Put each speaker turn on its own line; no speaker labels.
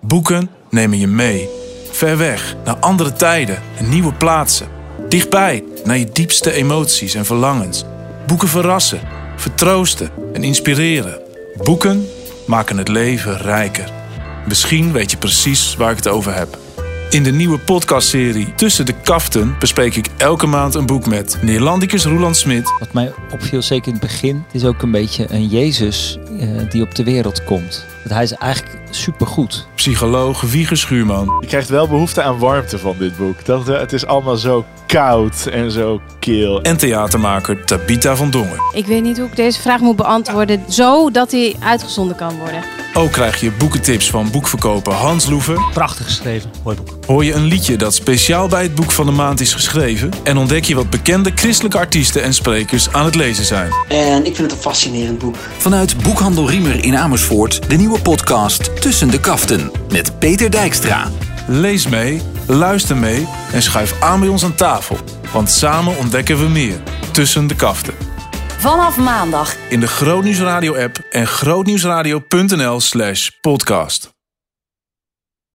Boeken nemen je mee. Ver weg, naar andere tijden en nieuwe plaatsen. Dichtbij, naar je diepste emoties en verlangens. Boeken verrassen, vertroosten en inspireren. Boeken maken het leven rijker. Misschien weet je precies waar ik het over heb. In de nieuwe podcastserie Tussen de Kaften bespreek ik elke maand een boek met Neerlandicus Roland Smit,
Wat mij opviel, zeker in het begin, het is ook een beetje een Jezus eh, die op de wereld komt. Want hij is eigenlijk supergoed.
psycholoog Wieger Schuurman
Je krijgt wel behoefte aan warmte van dit boek. Dat, eh, het is allemaal zo koud en zo kil.
en theatermaker Tabita van Dongen.
Ik weet niet hoe ik deze vraag moet beantwoorden, zodat hij uitgezonden kan worden.
Ook krijg je boekentips van boekverkoper Hans Loeven.
Prachtig geschreven, mooi boek.
Hoor je een liedje dat speciaal bij het boek van de maand is geschreven? En ontdek je wat bekende christelijke artiesten en sprekers aan het lezen zijn?
En ik vind het een fascinerend boek.
Vanuit Boekhandel Riemer in Amersfoort de nieuwe podcast Tussen de Kaften met Peter Dijkstra.
Lees mee, luister mee en schuif aan bij ons aan tafel. Want samen ontdekken we meer tussen de kaften.
Vanaf maandag
In de Grootnieuwsradio app en grootnieuwsradio.nl/slash podcast.